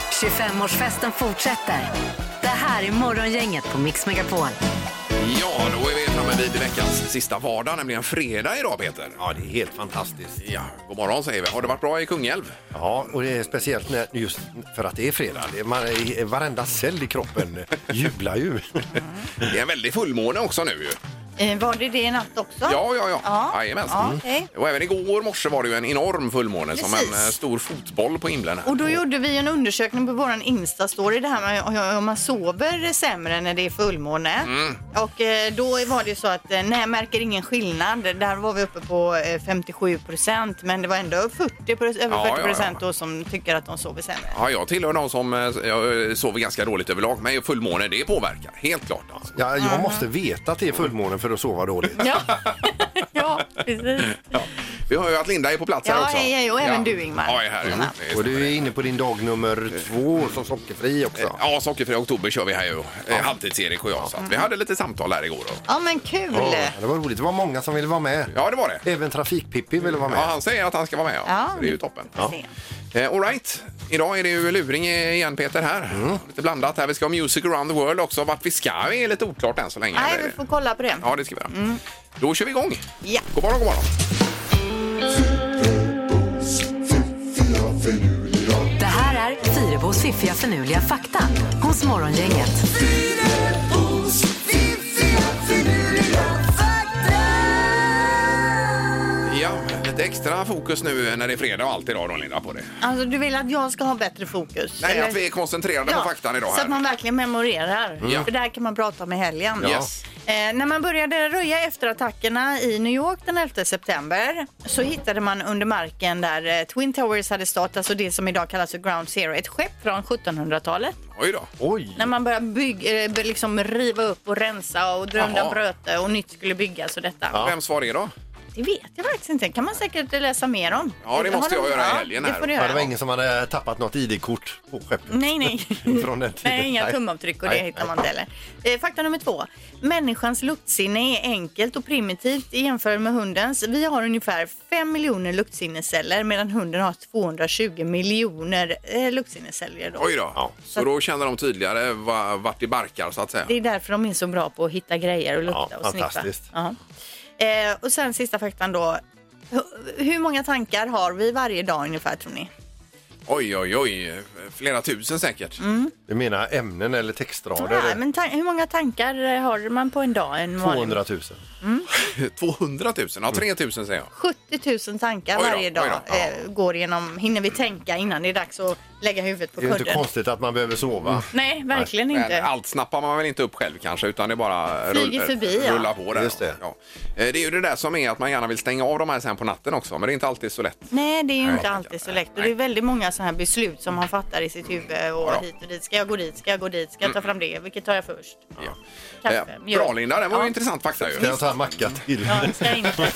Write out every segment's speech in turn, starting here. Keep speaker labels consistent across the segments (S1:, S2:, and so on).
S1: 25-årsfesten fortsätter. Det här är Morgongänget på Mix Megapol.
S2: Ja, då är vi framme vid veckans sista vardag, nämligen fredag idag Peter.
S3: Ja, det är helt fantastiskt.
S2: Ja, god morgon säger vi. Har det varit bra i Kungälv?
S3: Ja, och det är speciellt när, just för att det är fredag. Det är, man, är- varenda cell i kroppen jublar ju.
S2: Det är en väldig fullmåne också nu ju.
S4: Eh, Var det det i natt också?
S2: Ja, ja, Mm. ja.
S4: Ja.
S2: Jajamensan.
S4: Ja, okej.
S2: Och även igår morse var det ju en enorm fullmåne som en
S4: Precis.
S2: eh, stor fotboll på himlen. Här.
S4: Och då gjorde vi en undersökning på vår Insta-story det här med om man sover sämre när det är fullmåne.
S2: Mm.
S4: Och eh, då var det ju så att eh, nej, märker ingen skillnad. Där var vi uppe på eh, 57 procent men det var ändå 40, pro-
S2: Ja,
S4: över
S2: ja,
S4: 40 procent
S2: ja.
S4: då som tycker att de sover sämre.
S2: Ja, jag tillhör de som eh, jag sover ganska dåligt överlag, men fullmåne det påverkar. Helt klart alltså.
S3: Ja, jag måste veta att det är fullmåne för att sova dåligt.
S4: Ja, ja precis.
S2: Vi hör ju att Linda är på plats här
S4: Ja,
S2: också.
S4: hej, hej, och även du, Ingmar.
S2: Ja, jag är här. ju.
S4: Mm.
S2: Det är
S3: Och du är inne på din dag nummer två som sockerfri också.
S2: Ja, Sockerfria oktober kör vi här ju. Ja. Halvtids-Erik och jag. Så att
S4: Mm.
S2: vi hade lite samtal här igår. Och...
S4: Ja men kul!
S3: Ja, det var roligt. Det var många som ville vara med.
S2: Ja, det var det.
S3: Även Trafikpippi ville vara
S2: Ja,
S3: med.
S2: han säger att han ska vara med. Ja.
S4: Ja.
S2: Så det är ju toppen.
S4: Ja.
S2: Eh, all right. Idag är det ju luring igen Peter här. Lite blandat här. Vi ska ha Music around the world också. Vart vi ska är lite oklart än så länge.
S4: Nej,
S2: Eller-
S4: vi får kolla på det.
S2: Ja, det ska vi göra. Då kör vi igång.
S4: Ja.
S2: God morgon, god morgon.
S1: Det här är Fyrebos fiffiga förnuliga fakta hos Morgongänget.
S2: Ja, lite extra fokus nu när det är fredag och allt idag då Linda på det.
S4: Alltså du vill att jag ska ha bättre fokus?
S2: Nej,
S4: eller?
S2: att vi är koncentrerade på faktan idag
S4: så att man
S2: här. Mm.
S4: verkligen memorerar.
S2: Ja.
S4: För det här kan man prata om i helgen.
S2: Ja. Yes.
S4: Eh, när man började röja efter attackerna i New York den 11 september så hittade man under marken där eh, Twin Towers hade stått, alltså det som idag kallas för Ground Zero, ett skepp från 1700-talet.
S2: Oj då.
S3: Oj!
S4: När man började bygga, eh, liksom riva upp och rensa och dra
S2: Jaha.
S4: undan bröte och nytt skulle byggas och detta.
S2: Vems var det då?
S4: Det vet jag faktiskt inte. kan man säkert läsa mer om.
S2: Ja, det måste
S4: Har
S2: jag
S4: de-
S2: göra i
S4: Ja,
S2: helgen
S4: det
S2: här.
S4: får du
S3: Ja, det var
S4: göra.
S3: ingen som hade tappat något ID-kort på skeppet.
S4: Nej, nej.
S3: Från den tiden.
S4: nej, inga
S3: Nej.
S4: tumavtryck och det
S3: Nej,
S4: hittar
S3: nej.
S4: man inte heller. Eh, fakta nummer två. Människans luktsinne är enkelt och primitivt i jämförelse med hundens. Vi har ungefär 5 miljoner luktsinnesceller medan hunden har 220 miljoner eh, luktsinnesceller. Då.
S2: Oj då. Så då känner de tydligare va- vart det barkar så att säga.
S4: Det är därför de är så bra på att hitta grejer och lukta
S3: Ja,
S4: och sniffa.
S3: fantastiskt.
S4: Ja. Eh, och sen sista faktan då. Hu- Hur många tankar har vi varje dag ungefär tror ni?
S2: Oj, oj, oj. Flera tusen säkert.
S4: Mm.
S3: Du menar ämnen eller textrader?
S4: Nej, men ta- hur många tankar eh, har man på en dag? En vanlig
S3: 200 000.
S2: 200 000? Ja, 3 000 säger jag.
S4: 70 000 tankar
S2: Oj då,
S4: varje dag
S2: oj då, ja.
S4: eh, går genom, hinner vi tänka innan det är dags att lägga huvudet på
S3: Det är ju inte
S4: kudden.
S3: konstigt att man behöver sova.
S4: Nej, verkligen
S2: Men
S4: inte.
S2: allt snappar man väl inte upp själv kanske utan det bara
S4: Flyger
S2: rull- eh,
S4: förbi, ja.
S2: rullar på där.
S3: Just det.
S2: Ja. Eh, Det är ju det där som är att man gärna vill stänga av de här sen på natten också men det är inte alltid så lätt.
S4: Nej, det är ju
S2: Nej.
S4: inte alltid så lätt. Och det är väldigt många sådana här beslut som man fattar i sitt huvud. Och
S2: Ja. Mm.
S4: hit och dit. Ska jag gå dit? Ska jag gå dit? Ska jag ta fram det? Vilket tar jag först?
S2: Ja.
S4: Kaffe,
S2: Eh,
S4: mjölk.
S2: Bra Linda, det var ju
S4: Ja.
S2: intressant fakta ju.
S3: Kan jag ta en macka till?
S4: Ja, ska jag inte.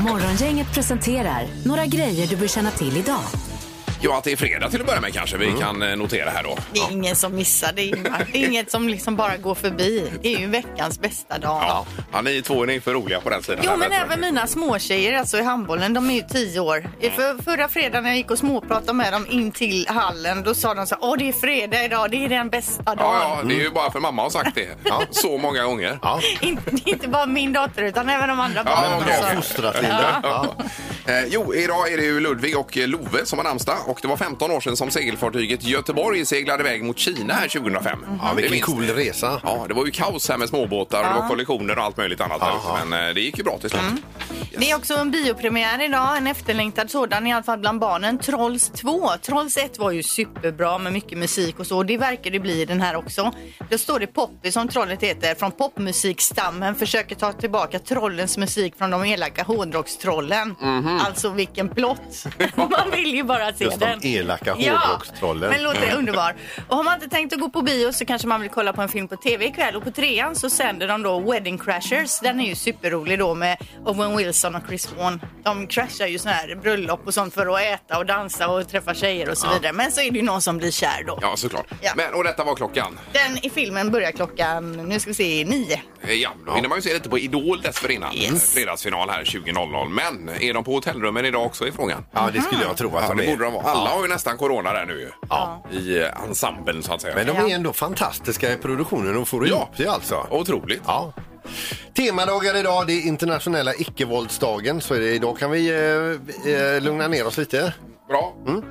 S1: Morgongänget presenterar några grejer du bör känna till idag.
S2: Ja, att det är fredag till att börja med kanske vi
S3: Mm.
S2: kan eh, notera här då.
S4: Det är ingen som missar det, Ingmar. Det är inget som liksom bara går förbi. Det är ju veckans bästa dag.
S2: Ja. Ja, ni två är ni för roliga på den sidan.
S4: Jo,
S2: här,
S4: men
S2: vet du.
S4: även mina småtjejer alltså, i handbollen, de är ju tio år.
S2: Mm.
S4: För, förra fredagen när jag gick och småpratade med dem in till hallen, då sa de så här, åh det är fredag idag, det är den bästa dagen.
S2: Ja, ja, det är ju bara för mamma har sagt det så många gånger.
S3: Mm. Ja.
S4: Inte, inte bara min dotter utan även de andra
S2: Ja,
S4: barnen.
S2: okej,
S3: Bra
S4: också.
S2: okej.
S3: fostrat, Linda. Ja.
S2: Eh, jo, idag är det ju Ludvig och eh, Love som har namnsdag och det var 15 år sedan som segelfartyget Göteborg seglade iväg mot Kina här 2005.
S3: Mm. Ja,
S2: Det
S3: vilken
S2: minns
S3: cool
S2: ni.
S3: resa.
S2: Ja, det var ju kaos här med småbåtar och det var kollisioner och allt möjligt annat. där
S3: Aha.
S2: ute, Men eh, det gick ju bra till slut.
S4: Mm. Det är också en biopremiär idag, en efterlängtad sådan i alla fall bland barnen. Trolls 2. Trolls 1 var ju superbra med mycket musik och så. Och det verkar det bli i den här också. Då står det Poppy som trollet heter, från popmusikstammen försöker ta tillbaka trollens musik från de elaka hårdrockstrollen. Alltså vilken plott! Man vill ju bara
S3: Mhm.
S4: se
S3: Just de
S4: den.
S3: elaka hårdrockstrollen.
S4: Ja, men låter underbar. Och har man inte tänkt att gå på bio så kanske man vill kolla på en film på tv ikväll. Och på trean så sänder de då Wedding Crashers. Den är ju superrolig då med Owen Wilson och Chris Vaughan. De kraschar ju sådana här bröllop och sånt för att äta och dansa och träffa tjejer och så vidare. Men så är det ju någon som blir kär då.
S2: Ja, såklart.
S4: Ja.
S2: Men, och detta var klockan.
S4: Den i filmen börjar klockan, nu ska vi se, nio.
S2: Eh, Ja, då hinner man ju se lite på Idol dessförinnan. Eh,
S4: Yes.
S2: Fredagsfinal här 20.00. Men är de på hotellrummen idag också i frågan?
S3: Ja, alltså det skulle jag tro att
S2: Ja,
S3: de
S2: det borde de
S3: är.
S2: vara. Alla har ju nästan corona där nu ju.
S4: Ja.
S2: I eh, ensemblen så att säga.
S3: Men de är
S4: Ja.
S3: ändå fantastiska i produktionen. De får ihop det alltså.
S2: Otroligt.
S3: Ja. Temadagar idag, det är internationella icke-våldsdagen. Så är det, idag kan vi eh, eh, lugna ner oss lite.
S2: Bra.
S3: Mm. Eh,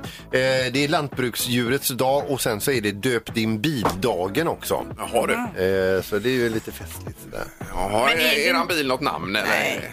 S3: det är lantbruksdjurets dag och sen så är det döp din bil-dagen också.
S2: Jaha du.
S3: Eh, så det är ju lite festligt sådär.
S2: Ja, har
S4: Men är det-
S2: eran bil något namn eller?
S4: Nej.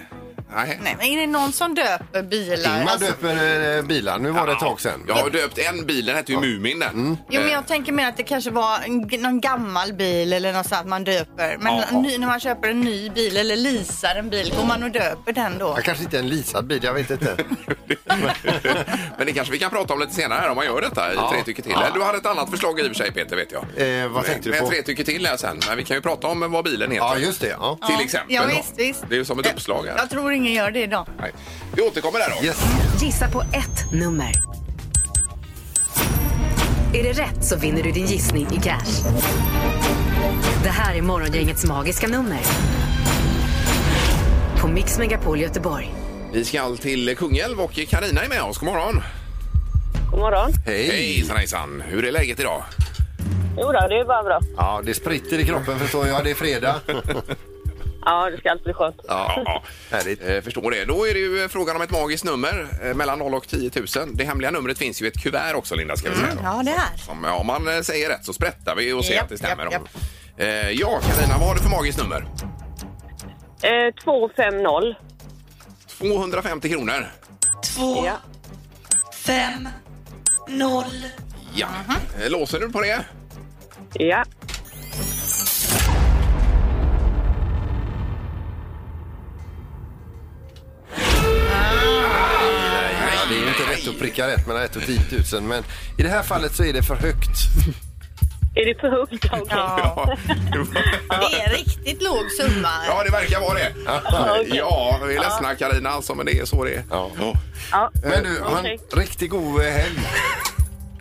S2: Nej.
S4: Nej, men är det någon som döper bilar?
S3: Ingmar
S4: Alltså-
S3: döper eh, bilar, nu var det ett tag sedan. Mm.
S2: Jag har döpt en bil, den hette ju Mumin den.
S4: Jo, men jag tänker mer att det kanske var en, g- någon gammal bil eller något sånt att man döper. Men
S2: Ja, ja.
S4: ny, när man köper en ny bil eller leasar en bil, går man och döper den då?
S3: Jag kanske inte är en leasad bil, jag vet inte. Eh,
S2: Eh, Men det kanske vi kan prata om lite senare här om man gör detta i Tre tycker till. Du hade ett annat förslag i och för sig Peter vet jag.
S3: Eh, vad tänkte du
S2: Men
S3: på?
S2: Tre tycker till här sen. Men vi kan ju prata om vad bilen heter.
S3: Ja, just det. Ja.
S2: Till exempel.
S4: Ja,
S2: då.
S4: visst, visst.
S2: Det är ju som ett uppslag här.
S4: Jag tror ingen gör det idag.
S2: Nej. Vi återkommer där då.
S3: Yes.
S1: Gissa på ett nummer. Är det rätt så vinner du din gissning i cash. Det här är Morgongängets magiska nummer. På Mix Megapol Göteborg.
S2: Vi ska till Kungälv och Karina är med oss. God morgon.
S5: God morgon.
S3: Hej.
S2: Hejsan hejsan. Hur är läget idag?
S5: Jo då, det är bara bra.
S3: Ja, det spritter i kroppen förstår jag. Det är fredag.
S5: Ja, det ska alltid bli skönt.
S2: Ja, ja.
S3: Härligt.
S2: Eh, förstår det. Då är det ju eh, frågan om ett magiskt nummer eh, mellan 0 och 10 000. Det hemliga numret finns ju i ett kuvert också Linda ska vi säga. då.
S4: Mm, Ja, det här.
S2: Som, ja, om man eh, säger rätt så sprättar vi och ser
S4: Japp,
S2: att det stämmer.
S4: japp,
S2: då. Eh, ja, Karina, vad har du för magiskt nummer?
S5: Eh, 250.
S2: 250 kronor.
S6: två,
S5: Ja.
S6: fem, noll.
S2: Ja.
S4: Mhm.
S2: Eh, Låser du på det?
S5: Ja.
S3: Ja, det är ju inte rätt att pricka rätt mellan 1 och 10 000 men i det här fallet så är det för högt.
S5: Är det för högt? Okej.
S4: Ja. Det är en riktigt låg summa.
S2: ja, det verkar vara det.
S5: okej.
S2: Ja, vi är ledsna Karina alltså, men det är så det är.
S3: Ja.
S5: Ja.
S3: Men du, ha en
S5: Okej.
S3: riktigt god eh, helg.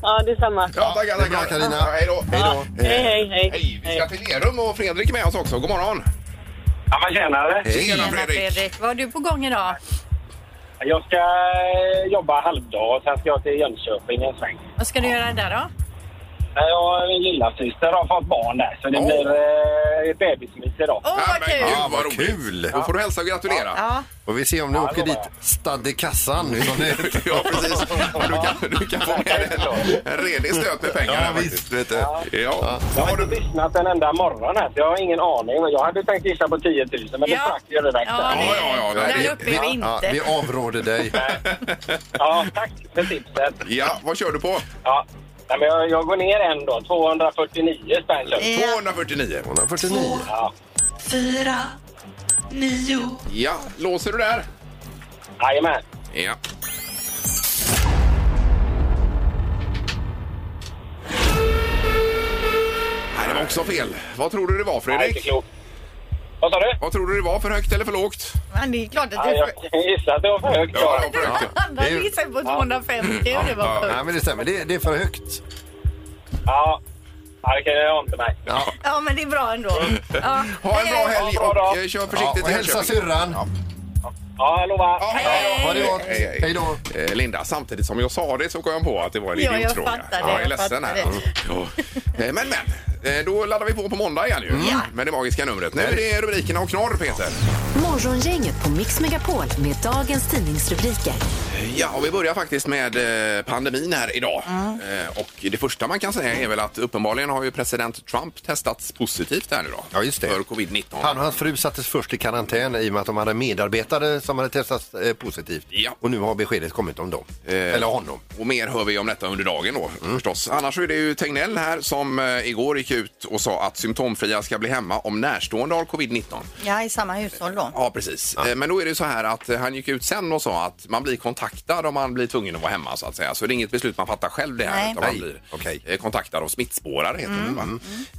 S5: ja, det är samma.
S2: Ja, tackar,
S3: det är
S2: tackar.
S3: bra, Carina.
S2: Ja, hej då. Hej då.
S5: Hej, hej, hej.
S2: Hej, vi ska till Lerum och Fredrik är med oss också. God morgon.
S7: Ja, men tjenare.
S2: Tjena,
S4: Tjena, Fredrik. Vad har du på gång idag?
S7: Jag ska eh, jobba halvdag och sen ska jag till Jönköping en sväng.
S4: Vad ska du göra där då?
S7: Eh, Jag och min lillasyster har fått barn där så det
S2: Åh.
S7: blir eh, bebismys idag.
S4: Åh,
S2: Ja,
S4: vad
S2: men
S4: kul!
S2: gud,
S3: Ja, vad
S2: roligt.
S3: kul.
S2: Då får du hälsa och gratulera.
S4: Ja,
S3: Och vi ser om du
S7: Ja,
S3: åker
S7: det
S3: dit
S7: lovar
S3: stadd i kassan. Som det heter.
S2: Ja, precis. Du kan, du kan få med en, en redig stöt med pengar. här, faktiskt.
S3: vet du.
S2: Ja.
S7: Jag
S2: Vad
S7: har
S2: har
S7: inte
S2: du?
S7: lyssnat en enda morgon här så jag har ingen aning. Men Jag hade tänkt gissa på 10 000 men det
S4: Ja.
S7: sprack ju direkt.
S4: Ja,
S7: Ja.
S4: det-
S2: Ja, ja, ja.
S4: Där
S2: Vi-
S4: uppe är vi
S3: Ja, vi
S4: inte.
S3: avråder dig.
S7: ja, tack för tipset.
S2: Ja, vad kör du på?
S7: Ja. Nej, men jag, jag går ner en då. 249 spänn köper
S2: Eh.
S7: jag.
S4: Ja.
S2: 249.
S3: 149.
S7: ja.
S6: Fyra, nio.
S2: Ja, låser du där?
S7: Jajamän.
S2: Ja. Nej, det var också fel. Vad tror du det var,
S7: Nej, inte
S2: Fredrik?
S7: klokt. Vad sa du?
S2: Vad tror du det var? För högt eller för lågt?
S4: Men det är klart att
S7: Ja,
S4: du...
S7: jag gissade att det var för högt.
S2: Ja, det
S7: Ja.
S2: var för högt.
S4: Andra gissar på 250. Det var sjukt.
S3: Nej, men det stämmer. Det, det är för högt.
S7: Ja, Ja, det kan jag göra om till mig.
S3: Ja.
S4: Ja, men det är bra ändå. Ja.
S2: Ha en bra helg
S7: Ja, bra
S2: och
S7: då.
S2: eh, kör
S3: Ja,
S2: försiktigt
S3: och
S2: till
S3: hälsa
S2: Jönköping.
S3: syrran.
S7: Ja, jag lovar.
S2: Ja, hej då.
S3: Ha det gott.
S2: Hej, hej.
S3: Hej då.
S2: Eh, Linda, samtidigt som jag sa det så kom jag på att det var en
S4: Ja, jag
S2: idiotfråga.
S4: fattar det,
S2: jag är
S4: jag
S2: ledsen här.
S4: fattar
S2: Ja. Eh, Men, men. eh, Då laddar vi på på måndag igen ju. Med det magiska numret. Nu är det rubrikerna och knorr, Peter.
S1: Morgongänget på Mix Megapol med dagens tidningsrubriker.
S2: Eh, Ja, och vi börjar faktiskt med eh, pandemin här idag.
S4: Mm.
S2: Eh, Och det första man kan säga är väl att uppenbarligen har ju president Trump testats positivt här nu då.
S3: Ja, just det.
S2: För covid-19.
S3: Han och hans fru sattes först i karantän i och med att de hade medarbetare som hade testat eh, positivt.
S2: Ja.
S3: Och nu har beskedet kommit om dem. Eller honom.
S2: Och mer hör vi om detta under dagen då förstås. Annars så är det ju Tegnell här som eh, igår gick ut och sa att symptomfria ska bli hemma om närstående har covid-19.
S4: Ja, i samma hushåll då.
S2: Ja, precis. Eh, Men då är det så här att eh, han gick ut sen och sa att man blir kontaktad kontaktad om man blir tvungen att vara hemma så att säga. Så det är inget beslut man fattar själv det här
S4: Nej. Mm.
S2: utan man
S3: Nej,
S2: blir
S3: okej.
S2: eh, kontaktad av smittspårare heter det va?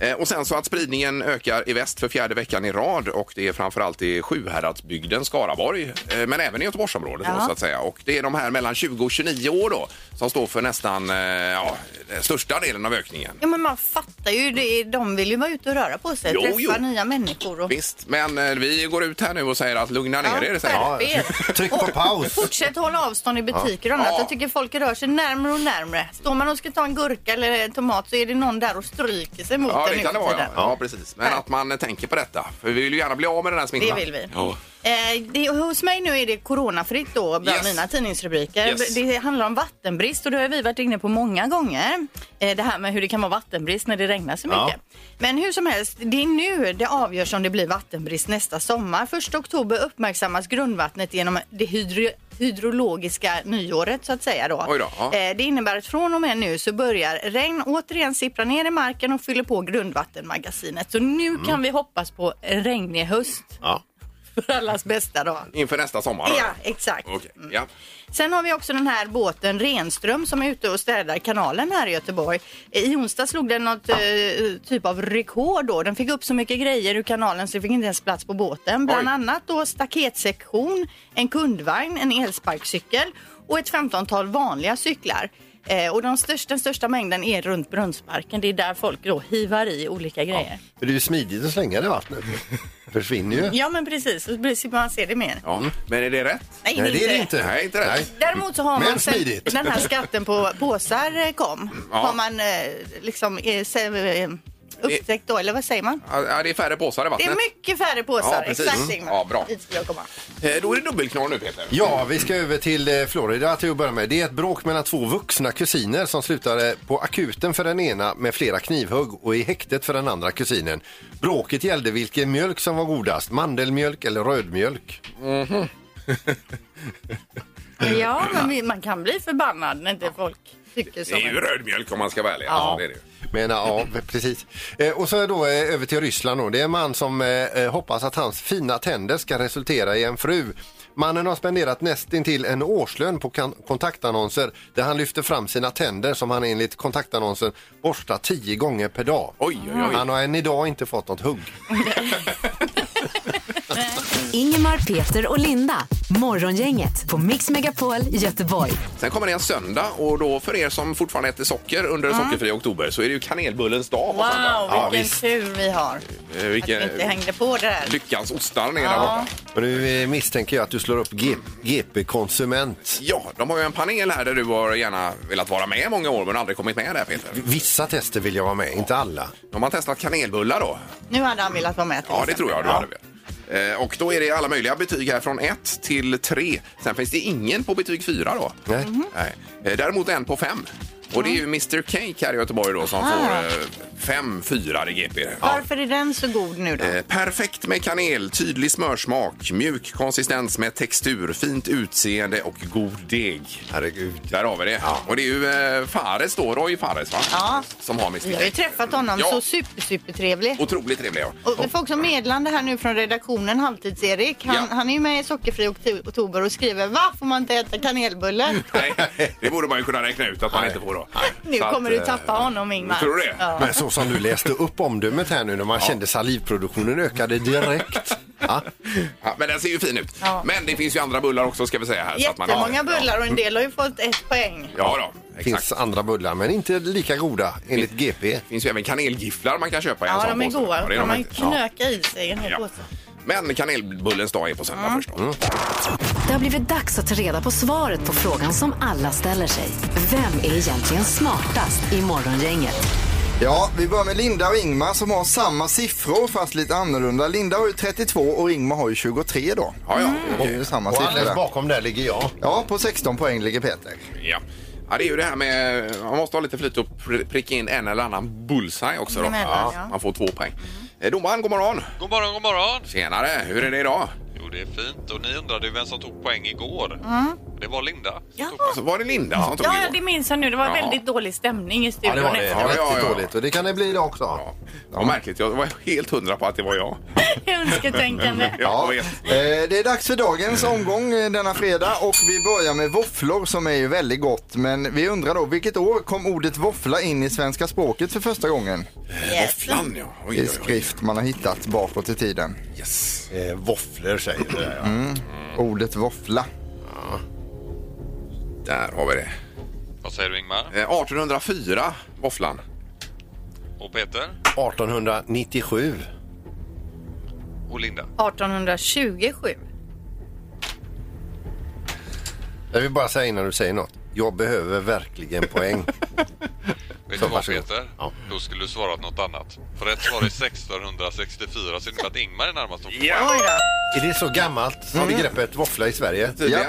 S2: Eh, Och sen så att spridningen ökar i väst för fjärde veckan i rad och det är framförallt i Sjuhäradsbygden, Skaraborg, eh, men även i Göteborgsområdet då,
S4: Ja.
S2: så att säga. Och det är de här mellan 20 och 29 år då som står för nästan eh, ja, den största delen av ökningen.
S4: Ja, men man fattar ju. Det, de vill ju vara ute och röra på sig,
S2: Jo,
S4: träffa
S2: jo.
S4: nya människor. Och...
S2: Visst, men eh, vi går ut här nu och säger att lugna ner er. Säger. jag.
S4: skärp er.
S3: Tryck på
S4: Och
S3: paus.
S4: Fortsätt hålla avstånd i butiker och annat.
S2: Ja.
S4: Jag tycker folk rör sig närmre och närmre. Står man och ska ta en gurka eller en tomat så är det någon där och stryker sig mot
S2: Ja,
S4: en
S2: det
S4: nu
S2: kan det
S4: för
S2: vara. Ja.
S4: tiden.
S2: ja, precis. Men att man eh, tänker på detta. För vi vill ju gärna bli av med den här smittan.
S4: Det vill vi.
S2: Ja.
S4: Eh, det, hos mig nu är det coronafritt då bland
S2: Yes.
S4: mina tidningsrubriker.
S2: Yes.
S4: Det handlar om vattenbrist och det har vi varit inne på många gånger. Eh, det här med hur det kan vara vattenbrist när det regnar så mycket. Men hur som helst, det är nu det avgörs om det blir vattenbrist nästa sommar. 1 oktober uppmärksammas grundvattnet genom det hydro hydrologiska nyåret så att säga då.
S2: Oj då, ja.
S4: Eh, Det innebär att från och med nu så börjar regn återigen sippra ner i marken och fyller på grundvattenmagasinet. Så nu
S2: Mm.
S4: kan vi hoppas på en regnig höst.
S3: Ja.
S4: För allas bästa då.
S2: Inför nästa sommar. då.
S4: Ja, exakt. Mm.
S2: Okej, ja.
S4: Sen har vi också den här båten Renström som är ute och städar kanalen här i Göteborg. I onsdag slog den något eh, typ av rekord då. Den fick upp så mycket grejer ur kanalen så det fick inte ens plats på båten. Bland
S2: Oj.
S4: annat då staketsektion, en kundvagn, en elsparkcykel och ett 15-tal vanliga cyklar. Eh, och de största, den största mängden är runt Brunnsparken. Det är där folk då hivar i olika grejer.
S3: För det är ju smidigt att slänga det i vattnet. försvinner ju.
S4: Ja, men precis. Så blir- man ser det mer.
S2: Ja. Men är det rätt?
S4: Nej,
S3: Nej, det är det inte.
S2: Nej, inte rätt.
S3: Nej.
S4: Däremot så har
S3: Men
S4: man sen
S3: smidigt.
S4: den här skatten på påsar eh, kom.
S2: Ja.
S4: Har man eh, liksom eh, se- eh, upptäckt då, eller vad säger man?
S2: Ja, det är färre påsar i
S4: Det
S2: vattnet.
S4: är mycket färre
S2: Ja,
S4: påsar.
S2: precis.
S4: Exakt
S2: Mm.
S4: Ingmar.
S2: Ja, bra.
S4: Dit skulle jag komma.
S2: Eh, Då är det dubbelknorr nu, Peter.
S3: Ja, vi ska över till eh, Florida till att börja med. Det är ett bråk mellan två vuxna kusiner som slutade på akuten för den ena med flera knivhugg och i häktet för den andra kusinen. Bråket gällde vilken mjölk som var godast, mandelmjölk eller rödmjölk.
S4: Ja, men vi- man kan bli förbannad när inte folk tycker
S2: Det
S4: så.
S2: är ju röd mjölk om man ska välja.
S4: Ja.
S2: det är det. ju.
S3: Men ja, precis. Eh, Och så då eh, över till Ryssland då. Det är en man som eh, eh, hoppas att hans fina tänder ska resultera i en fru. Mannen har spenderat nästintill en årslön på kan- kontaktannonser där han lyfter fram sina tänder som han enligt kontaktannonsen borstar tio gånger per dag.
S2: Oj, oj, oj.
S3: Han har än idag inte fått något hugg.
S1: Ingemar, Peter och Linda. Morgongänget på Mix Megapol Göteborg.
S2: Sen kommer det en söndag och då för er som fortfarande äter socker under sockerfri oktober så är det ju kanelbullens dag på
S4: Wow,
S2: söndag.
S4: vilken tur vi har.
S2: Eh,
S4: Att vi inte hängde på det där.
S2: Lyckans ostar nere där borta.
S3: Och nu eh, misstänker jag att du slår upp G- GP Konsument.
S2: Ja, de har ju en panel här där du har gärna velat vara med i många år men aldrig kommit med där Peter.
S3: Vissa tester vill jag vara med, inte alla.
S2: De har testat kanelbullar då.
S4: Nu hade han velat vara med. till
S2: Ja, det
S4: exempel.
S2: tror jag du hade velat. Eh, Och då är det alla möjliga betyg här från 1 till 3. Sen finns det ingen på betyg 4 då.
S3: Nej.
S2: Nej. Eh, Däremot en på 5. Och det är ju Mr Cake här i Göteborg då som
S4: Ah.
S2: får 5 fyra i GP.
S4: Varför är den så god nu då?
S2: Eh, Perfekt med kanel, tydlig smörsmak, mjuk konsistens med textur, fint utseende och god deg.
S3: Herregud.
S2: Där har vi det. Och det är ju eh, Fares då, Roy Fares va?
S4: Ja.
S2: Som har Mr
S4: Vi har ju
S2: Cake.
S4: träffat honom,
S2: Ja.
S4: så super, super trevlig.
S2: Otroligt trevlig ja.
S4: Och vi får också medlande här nu från redaktionen, Halvtids-Erik. Han,
S2: Ja.
S4: han är ju med i Sockerfri okto- oktober och skriver Va? Får man inte äta kanelbullar?
S2: Nej, det borde man ju kunna räkna ut att man inte får då.
S4: nu
S2: Så att,
S4: kommer du
S2: eh,
S4: tappa honom, Ingmar.
S2: tror du det?
S4: Ja.
S3: Men så som du läste upp omdömet här nu när man kände salivproduktionen ökade direkt. Ja.
S2: Ja, men den ser ju fin ut.
S4: Ja.
S2: Men det finns ju andra bullar också ska vi säga här. så att man-
S4: Jättemånga bullar och en del har ju fått ett poäng.
S2: Ja, ja då,
S3: Det
S2: exakt.
S3: finns andra bullar men inte lika goda enligt GP.
S2: Det finns ju även kanelgifflar man kan köpa i en
S4: Ja,
S2: sån
S4: de är
S2: påse.
S4: goda.
S2: Ja, det är
S4: De
S2: de
S4: man
S2: faktiskt. Ja.
S4: knöka i sig en hel
S2: Ja.
S4: påse.
S2: Men kanelbullens dag är på söndag förstås.
S1: Det har blivit dags att ta reda på svaret på frågan som alla ställer sig. Vem är egentligen smartast i Morgongänget?
S8: Ja, vi börjar med Linda och Ingmar som har samma siffror fast lite annorlunda. Linda har ju 32 och Ingmar har ju 23 då.
S2: Ja, ja.
S4: Mm.
S8: Och det är ju samma
S3: Och alldeles
S8: siffror.
S3: bakom där ligger jag.
S8: Ja, på 16 poäng ligger Peter.
S2: Ja. ja, det är ju det här med... Man måste ha lite flyt och pri- pricka in en eller annan bullseye också. Då.
S4: Emellan, ja.
S2: Man får två poäng. Mm. Domaren, god morgon!
S9: God morgon, god morgon!
S2: Tjenare! Hur är det idag?
S9: Jo, det är fint. Och ni undrade ju vem som tog poäng igår. Det var Linda.
S4: Ja.
S2: Så Alltså, var det Linda som tog
S4: Ja,
S2: igår?
S4: det minns jag nu. Det var
S2: Ja.
S4: väldigt dålig stämning i
S3: Ja,
S4: studion.
S3: det var det.
S4: efter.
S3: Det
S2: Ja,
S3: var
S2: ja,
S3: riktigt
S2: ja.
S3: dåligt. Och det kan det bli det också.
S2: Ja. Ja, märkligt. Jag var helt hundra på att det var jag.
S4: Önsketänkande.
S2: Jag vet.
S8: Eh, Det är dags för dagens omgång eh, denna fredag och vi börjar med våfflor som är ju väldigt gott. Men vi undrar då, vilket år kom ordet våffla in i svenska språket för första gången?
S2: Våfflan, ja. Oj,
S8: I
S2: oj, oj.
S8: skrift man har hittat bakåt i tiden.
S2: Yes.
S3: Eh, våfflor säger du. där, ja.
S8: Ordet våffla.
S2: Där har vi det.
S9: Vad säger du Ingmar?
S2: Eh, 1804, våfflan.
S9: Och Peter?
S3: 1897.
S9: Och Linda?
S4: 1827.
S3: Jag vill bara säga innan du säger något. Jag behöver verkligen poäng.
S9: Vet
S3: Så,
S9: du vad
S3: varsågod.
S9: Peter?
S3: Ja.
S9: Då skulle du svarat något annat. För rätt svar är 1664 så det innebär att Ingmar är närmast att få poäng.
S3: är det så gammalt som begreppet våffla i Sverige?
S8: Ja,
S2: Tydligen.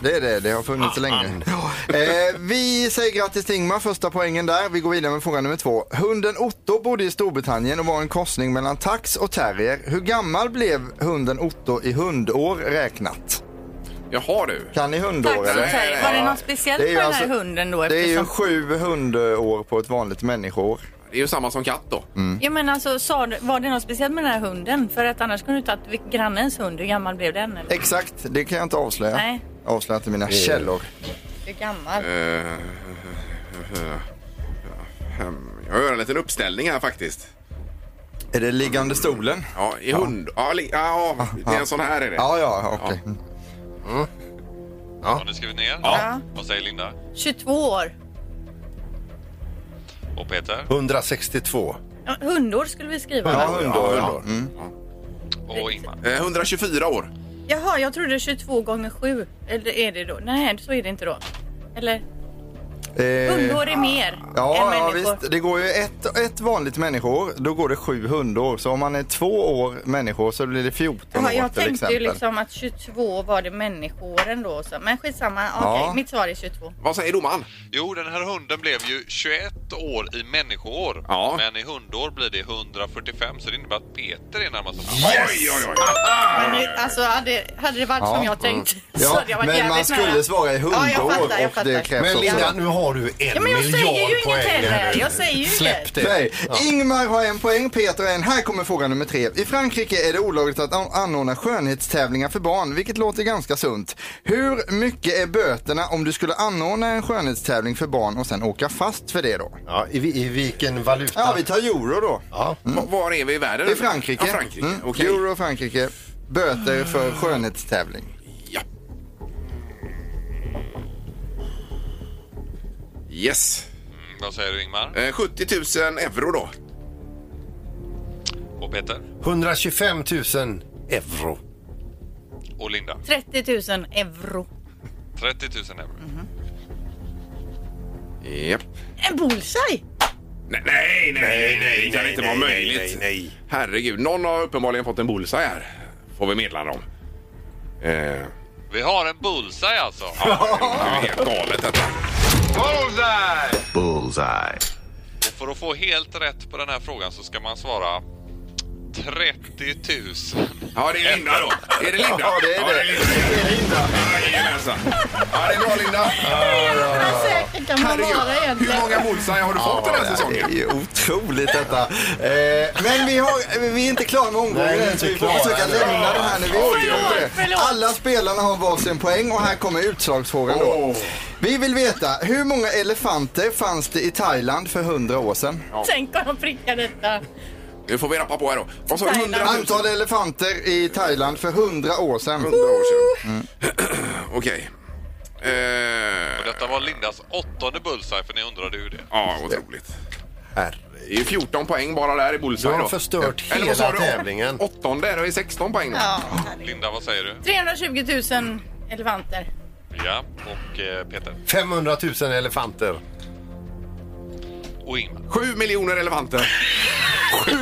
S8: det är det. Det har funnits
S2: Ah,
S8: så länge. Eh, vi säger grattis till Ingmar, första poängen där. Vi går vidare med fråga nummer två. Hunden Otto bodde i Storbritannien och var en korsning mellan tax och terrier. Hur gammal blev hunden Otto i hundår räknat?
S2: Jaha du.
S8: Kan ni
S4: Tack
S8: hundår?
S4: så
S8: eller?
S4: mycket. Var det något speciellt
S8: Det är ju
S4: med den
S8: alltså-
S4: här hunden då?
S8: Det är ju
S4: Eftersom...
S8: sju hundår på ett vanligt människoår.
S2: Det är ju samma som katt då.
S8: Mm.
S4: Ja, men alltså, sa, du- var det något speciellt med den här hunden? För att annars kunde du tagit grannens hund. Hur gammal blev den? Eller?
S8: Exakt, det kan jag inte avslöja.
S4: Nej.
S8: Avslöja inte
S3: Eh,
S8: mina källor.
S4: Hur gammal?
S2: Eh, Jag gör en liten uppställning här faktiskt.
S8: Är det liggande stolen?
S2: Ja, i hund. Ja, li- ja, det är en sån här är det.
S8: Ja, ja, okej.
S9: Har ni skrivit ner?
S2: Ja.
S9: Vad säger Linda?
S4: 22 år.
S9: Och Peter?
S3: 162.
S4: Ja, Hundår skulle vi skriva.
S8: Ja,
S4: va?
S8: hundår.
S2: Ja,
S8: Ja.
S2: hundår.
S8: Mm.
S9: Och Ingmar?
S2: Eh, 124 år.
S4: Jaha, jag trodde 22 gånger 7. Eller är det då? Nej, så är det inte då. Eller?
S8: Eh,
S4: Hundår är mer än
S8: Ja, ja
S4: människor.
S8: visst. Det går ju ett, ett vanligt människoår, då går det sju hundår. Så om man är två år människor så blir det 14
S4: Jaha,
S8: år
S4: jag
S8: till
S4: tänkte ju
S8: exempel.
S4: liksom att 22 var det människoåren då. Så. Men skitsamma, okej,
S8: Ja.
S4: mitt svar är 22.
S2: Vad säger domaren?
S9: Jo, den här hunden blev ju 21 år i människoår.
S2: Ja.
S9: Men i hundår blir det 145 så det innebär att Peter är närmast att få
S2: Oj, oj, oj.
S4: Men nu, alltså, hade, hade det varit
S8: Ja, Mm.
S4: som jag tänkt så
S8: Ja,
S4: hade jag varit
S8: men
S4: jävligt
S8: man skulle
S4: nära.
S8: svara i hundår
S4: Ja, jag fattar, jag
S8: och
S4: fattar.
S8: det krävs
S3: Men
S8: också.
S3: Linda, nu har du en
S4: Ja, men jag
S3: miljard
S4: säger ju inget
S3: poäng.
S4: heller. Jag säger ju inget.
S3: Släpp det.
S8: Nej. Ingmar har en poäng, Peter har en. Här kommer fråga nummer tre. I Frankrike är det olagligt att an- anordna skönhetstävlingar för barn, vilket låter ganska sunt. Hur mycket är böterna om du skulle anordna en skönhetstävling för barn och sen åka fast för det då?
S3: Ja, i, vi- I vilken valuta?
S8: Ja, vi tar euro då.
S3: Ja.
S2: Va- Var är vi i världen?
S8: Mm. Det är Frankrike.
S2: Ja, Frankrike.
S8: Mm.
S2: Okej.
S8: Euro och Frankrike. Böter för skönhetstävling.
S2: Ja. Yes.
S9: Mm, vad säger du Ingmar?
S2: Eh, 70 000 euro då.
S9: Och Peter?
S3: 125 000 euro.
S9: Och Linda?
S4: 30 000 euro.
S9: 30 000 euro.
S2: Japp.
S4: En bullseye!
S2: Nej, nej, nej, nej, det kan inte vara möjligt. Herregud, någon har uppenbarligen fått en bullseye här. Får vi meddela om. Eh, det
S9: Vi har en bullseye alltså.
S2: är helt galet detta.
S9: Och för att få helt rätt på den här frågan så ska man svara 30 000.
S2: Ja, det är Linda då. Är det Linda?
S8: Ja, det är det.
S2: Linda. Jajamensan. Ja, det är bra Linda.
S4: Hur säker kan man vara
S2: Herregud,
S4: egentligen?
S2: hur många bullseye har du fått den här
S8: Det är
S2: säsongen?
S8: ju otroligt detta. Eh, men vi, har, vi är inte klara
S3: Nej,
S8: med
S3: vi är
S8: omgången
S3: inte
S8: så vi får
S3: klara
S8: försöka
S3: än.
S8: lämna det här nu. Vi orkar
S4: Förlåt,
S8: inte det.
S4: förlåt.
S8: Alla spelarna har varsin poäng och här kommer utslagsfrågan då.
S2: Åh.
S8: Vi vill veta, hur många elefanter fanns det i Thailand för 100 år sedan?
S4: Tänk om de prickar detta.
S2: Nu får vi rappa på här då. Vad sa du? 100 000?
S8: Antal elefanter i Thailand för 100 år sedan.
S2: 100 år sedan. Okej. Eh,
S9: Och detta var Lindas åttonde bullseye för ni undrade hur det.
S2: Ja, otroligt.
S3: Herre.
S2: Det är ju 14 poäng bara där i bullseye
S3: Du har
S2: då.
S3: förstört
S2: Eller vad
S3: hela
S2: sa du?
S3: tävlingen.
S2: Åttonde, det är 16 poäng då.
S4: Ja.
S9: Linda, vad säger du?
S4: 320 000 elefanter.
S9: Ja, och eh, Peter.
S3: 500 000 elefanter.
S9: Och Ingmar.
S2: 7 miljoner elefanter.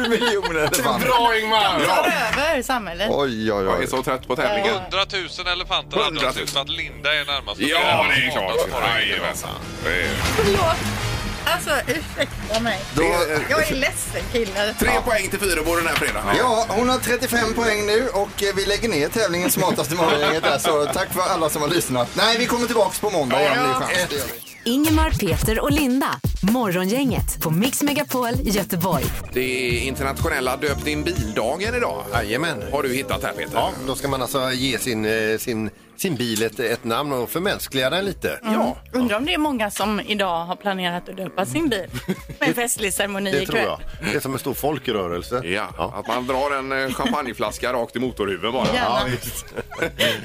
S8: 7 miljoner elefanter.
S2: Bra Ingmar!
S4: Tar över samhället.
S8: Oj, oj,
S2: Jag är
S8: oj.
S2: så trött på tävlingen.
S9: 100 000 elefanter hade
S2: 100
S9: alltså de
S2: 000.
S9: sett, så att Linda är närmast.
S2: Ja, det är klart.
S9: Åtta svarar Ingmar.
S2: Jajamensan. Det är-
S4: Förlåt. Alltså, ursäkta mig.
S8: Då,
S4: Jag är ledsen killar.
S2: Tre poäng till Fyrebo den här fredagen.
S8: ja, hon har 35 poäng nu och eh, vi lägger ner tävlingen Smartaste morgongänget där så tack för alla som har lyssnat. Nej, vi kommer tillbaks på måndag om det är chans. Det gör vi.
S1: Ingemar, Peter och Linda. Morgongänget på Mix Megapol Göteborg.
S2: Det är internationella döp din bildagen idag.
S3: Jajamän.
S2: Har du hittat här Peter?
S3: Ja, då ska man alltså ge sin, eh, sin, sin bil ett, ett namn och förmänskliga den lite.
S2: Ja.
S4: Undrar om det är många som idag har planerat att döpa sin bil med en festlig ceremoni
S3: Det tror
S4: ikväll.
S3: jag. Det är som en stor folkrörelse.
S2: Ja, att man drar en eh, champagneflaska rakt i motorhuven bara.
S4: Gärna.
S3: visst.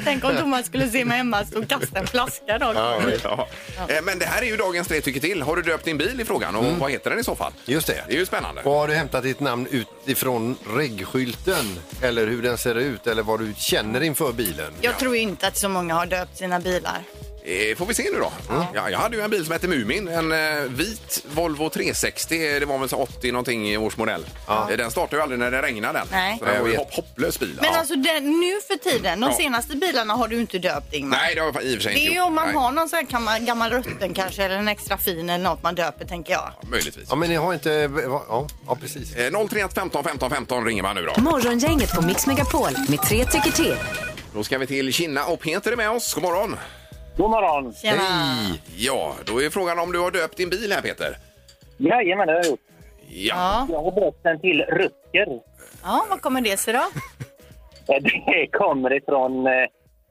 S4: Tänk om Thomas skulle se mig hemma stå och kasta en flaska rakt
S3: Ja,
S4: ut.
S2: Ja. Eh, Men det här är ju dagens tre tycker till. Har du döpt din bil i frågan och vad heter den i så fall?
S3: Mm. Just det.
S2: Det är ju spännande.
S3: Och har du hämtat ditt namn utifrån reggskylten eller hur den ser ut eller vad du känner inför bilen?
S4: Jag tror inte att så många har döpt sina bilar.
S2: Eh, Får vi se nu då. Ja, jag hade ju en bil som hette Mumin. En eh, vit Volvo 360. Det var väl så 80 någonting i årsmodell. Eh, Den startade ju aldrig när det regnade. den.
S4: Nej.
S2: Så det var ju hopp, hopplös bil.
S4: Men
S2: Ja.
S4: alltså den, nu för tiden, de
S2: Ja.
S4: senaste bilarna har du inte döpt Ingmar.
S2: Nej, det har jag i och för sig
S4: Det
S2: inte
S4: är ju
S2: gjort.
S4: om man
S2: Nej,
S4: har någon sån här gammal, gammal rutten kanske eller en extra fin eller något man döper tänker jag.
S2: Möjligtvis.
S3: Ja, men ni har inte... Ja, ja precis.
S2: Eh, 031 15 15 15 ringer man nu då.
S1: Morgongänget på Mix Megapol med tre tycker till.
S2: Då ska vi till Kina och Peter är med oss. God morgon!
S7: God morgon!
S4: Tjena.
S2: Ja, då är frågan om du har döpt din bil här Peter?
S7: Jajamän, det har jag gjort.
S2: Ja.
S4: Ja.
S7: Jag har döpt den till Rutger.
S4: ja, vad kommer det sig då?
S7: Eh, Det kommer ifrån... eh,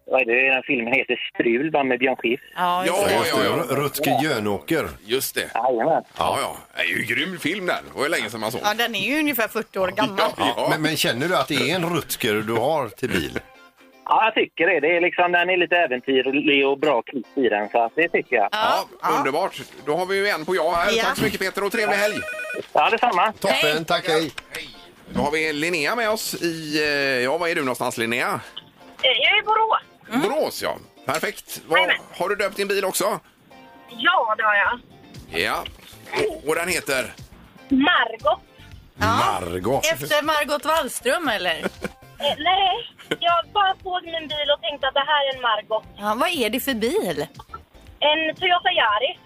S7: Vad är det? Den här filmen heter Strul va, med Björn Skifs.
S4: Ja,
S2: Ja,
S4: just det.
S2: ja, ja, ja.
S3: Rutger Jönåker.
S2: Just det.
S7: Jajamän.
S2: Ja, ja. Det är ju en grym film den. Det var ju länge sedan man såg.
S4: ja, den är ju ungefär 40 år gammal.
S2: Ja, ja.
S3: Men, men känner du att det är en Rutger du har till bil?
S7: Ja, jag tycker det. det är liksom, den är lite äventyrlig och bra klipp i den, så att det tycker jag.
S2: Ja, underbart. Då har vi ju en på ja här.
S4: Ja.
S2: Tack så mycket Peter och trevlig helg!
S7: Ja, detsamma.
S3: Toppen, tack hej.
S2: Då har vi Linnea med oss i, eh, ja var är du någonstans Linnea?
S5: Eh,
S2: Mm.
S5: Jag är i Borås.
S2: Borås ja. Perfekt. Vad-
S5: Jajamän.
S2: har du döpt din bil också?
S5: Ja, det har jag.
S2: Ja. Och- Och den heter?
S5: Margot.
S3: Margot.
S4: Efter Margot Wallström eller?
S5: Eh, nej, jag bara såg min bil och tänkte att det här är en Margot.
S4: Ja, vad är det för bil?
S5: En Toyota Yaris.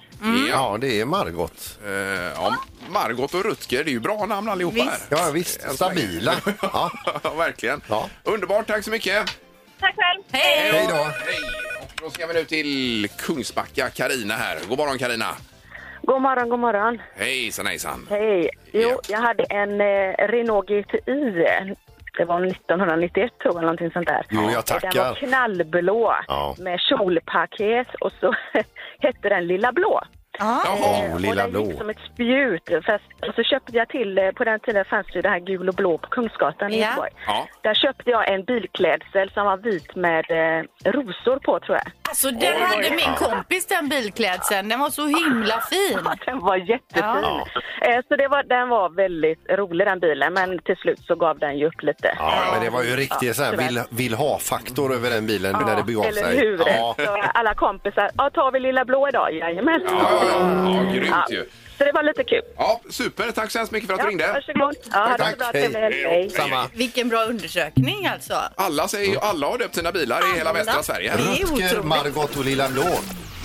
S2: Ja.
S3: Ja, det är Margot.
S2: Eh, ja. Margot och Rutger, det är ju bra namn allihopa
S4: Visst.
S2: här.
S3: Ja, visst. Stabila. Ja.
S2: Ja, verkligen.
S3: Ja.
S2: Underbart, tack så mycket.
S5: Tack själv.
S4: Hej!
S3: Hej då.
S2: Hej. Och då ska vi nu till Kungsbacka, Karina här. God morgon Karina.
S5: God morgon, god morgon.
S2: Hejsan hejsan.
S5: Hej.
S2: Ja.
S5: Jo, jag hade en eh, Renault GTI. Det var 1991 tror jag, eller någonting sånt där.
S3: Jo, jag
S5: Och Den
S3: tackar.
S5: var knallblå
S3: Ja.
S5: med kjolpaket och så hette den Lilla Blå.
S2: Jaha.
S3: Oh, lilla
S5: och den gick
S3: blå.
S5: som ett spjut. Fast, och så köpte jag till, eh, på den tiden fanns det ju det här gul och blå på Kungsgatan i
S4: Ja.
S5: Göteborg.
S2: Ja.
S5: Där köpte jag en bilklädsel som var vit med eh, rosor på tror jag.
S4: Alltså den hade min kompis den bilklädseln. Den var så himla fin.
S5: Den var jättefin.
S3: Ja.
S5: Eh, så det var, den var väldigt rolig den bilen men till slut så gav den ju upp lite.
S3: Ja, men det var ju riktigt så här vill, vill ha-faktor över den bilen när det begav sig.
S5: Eller hur?
S3: Ja.
S5: Så alla kompisar, ja, tar vi lilla blå idag? Jajamän.
S2: Ja, ja, ja. ja, grymt
S5: Ja.
S2: ju.
S5: Så det var lite kul.
S2: Ja, super. Tack så hemskt mycket för att du ringde.
S5: varsågod. Ja, ha det
S3: Tack,
S5: så bra.
S3: hej.
S5: Trevlig helg. Hej.
S3: Samma.
S4: Vilken bra undersökning alltså.
S2: Alla, säger, alla har döpt sina bilar i hela
S4: Alla.
S2: västra Sverige.
S4: Det är
S3: Rutger,
S4: otroligt.
S3: Margot och Lilla Blå.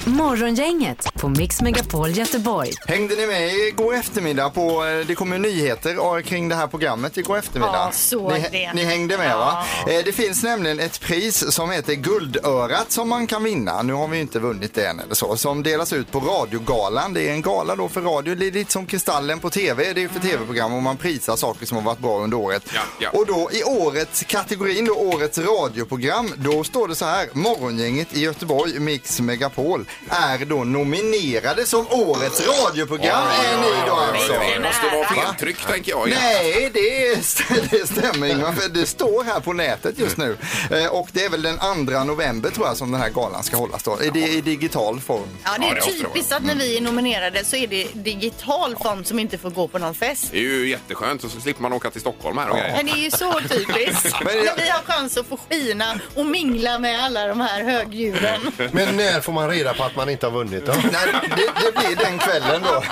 S1: Morgongänget på Mix Megapol Göteborg.
S8: Hängde ni med igår eftermiddag på, eh, det kom ju nyheter eh, kring det här programmet igår eftermiddag.
S4: Ja, såg
S8: ni,
S4: det.
S8: ni hängde med va? Eh, Det finns nämligen ett pris som heter Guldörat som man kan vinna. Nu har vi ju inte vunnit det än eller så. Som delas ut på radiogalan. Det är en gala då för radio. Det är lite som Kristallen på TV. Det är ju för tv-program och man prisar saker som har varit bra under året.
S2: Ja, ja.
S8: Och då i årets kategorin då, årets radioprogram, då står det så här. Morgongänget i Göteborg, Mix Megapol, är då nominerade som årets radioprogram. är ni då alltså?
S2: Det måste vara
S8: Va?
S2: feltryck, tänker jag.
S8: Nej, det, st- det stämmer Ingmar, för det står här på nätet just nu. Eh, Och det är väl den 2 november tror jag som den här galan ska hållas då. I, di- i digital form.
S4: Ja, det
S2: Ja,
S4: är
S2: det måste det
S4: typiskt att när vi är nominerade så är det digital form som inte får gå på någon fest.
S2: Det är ju jätteskönt, och så slipper man åka till Stockholm här och grejer.
S4: Men det är ju så typiskt.
S8: Men jag-
S4: När vi har chans att få skina och mingla med alla de här högdjuren.
S3: Men när får man reda på att man inte har vunnit. Då.
S8: Nej, det, det blir den kvällen då.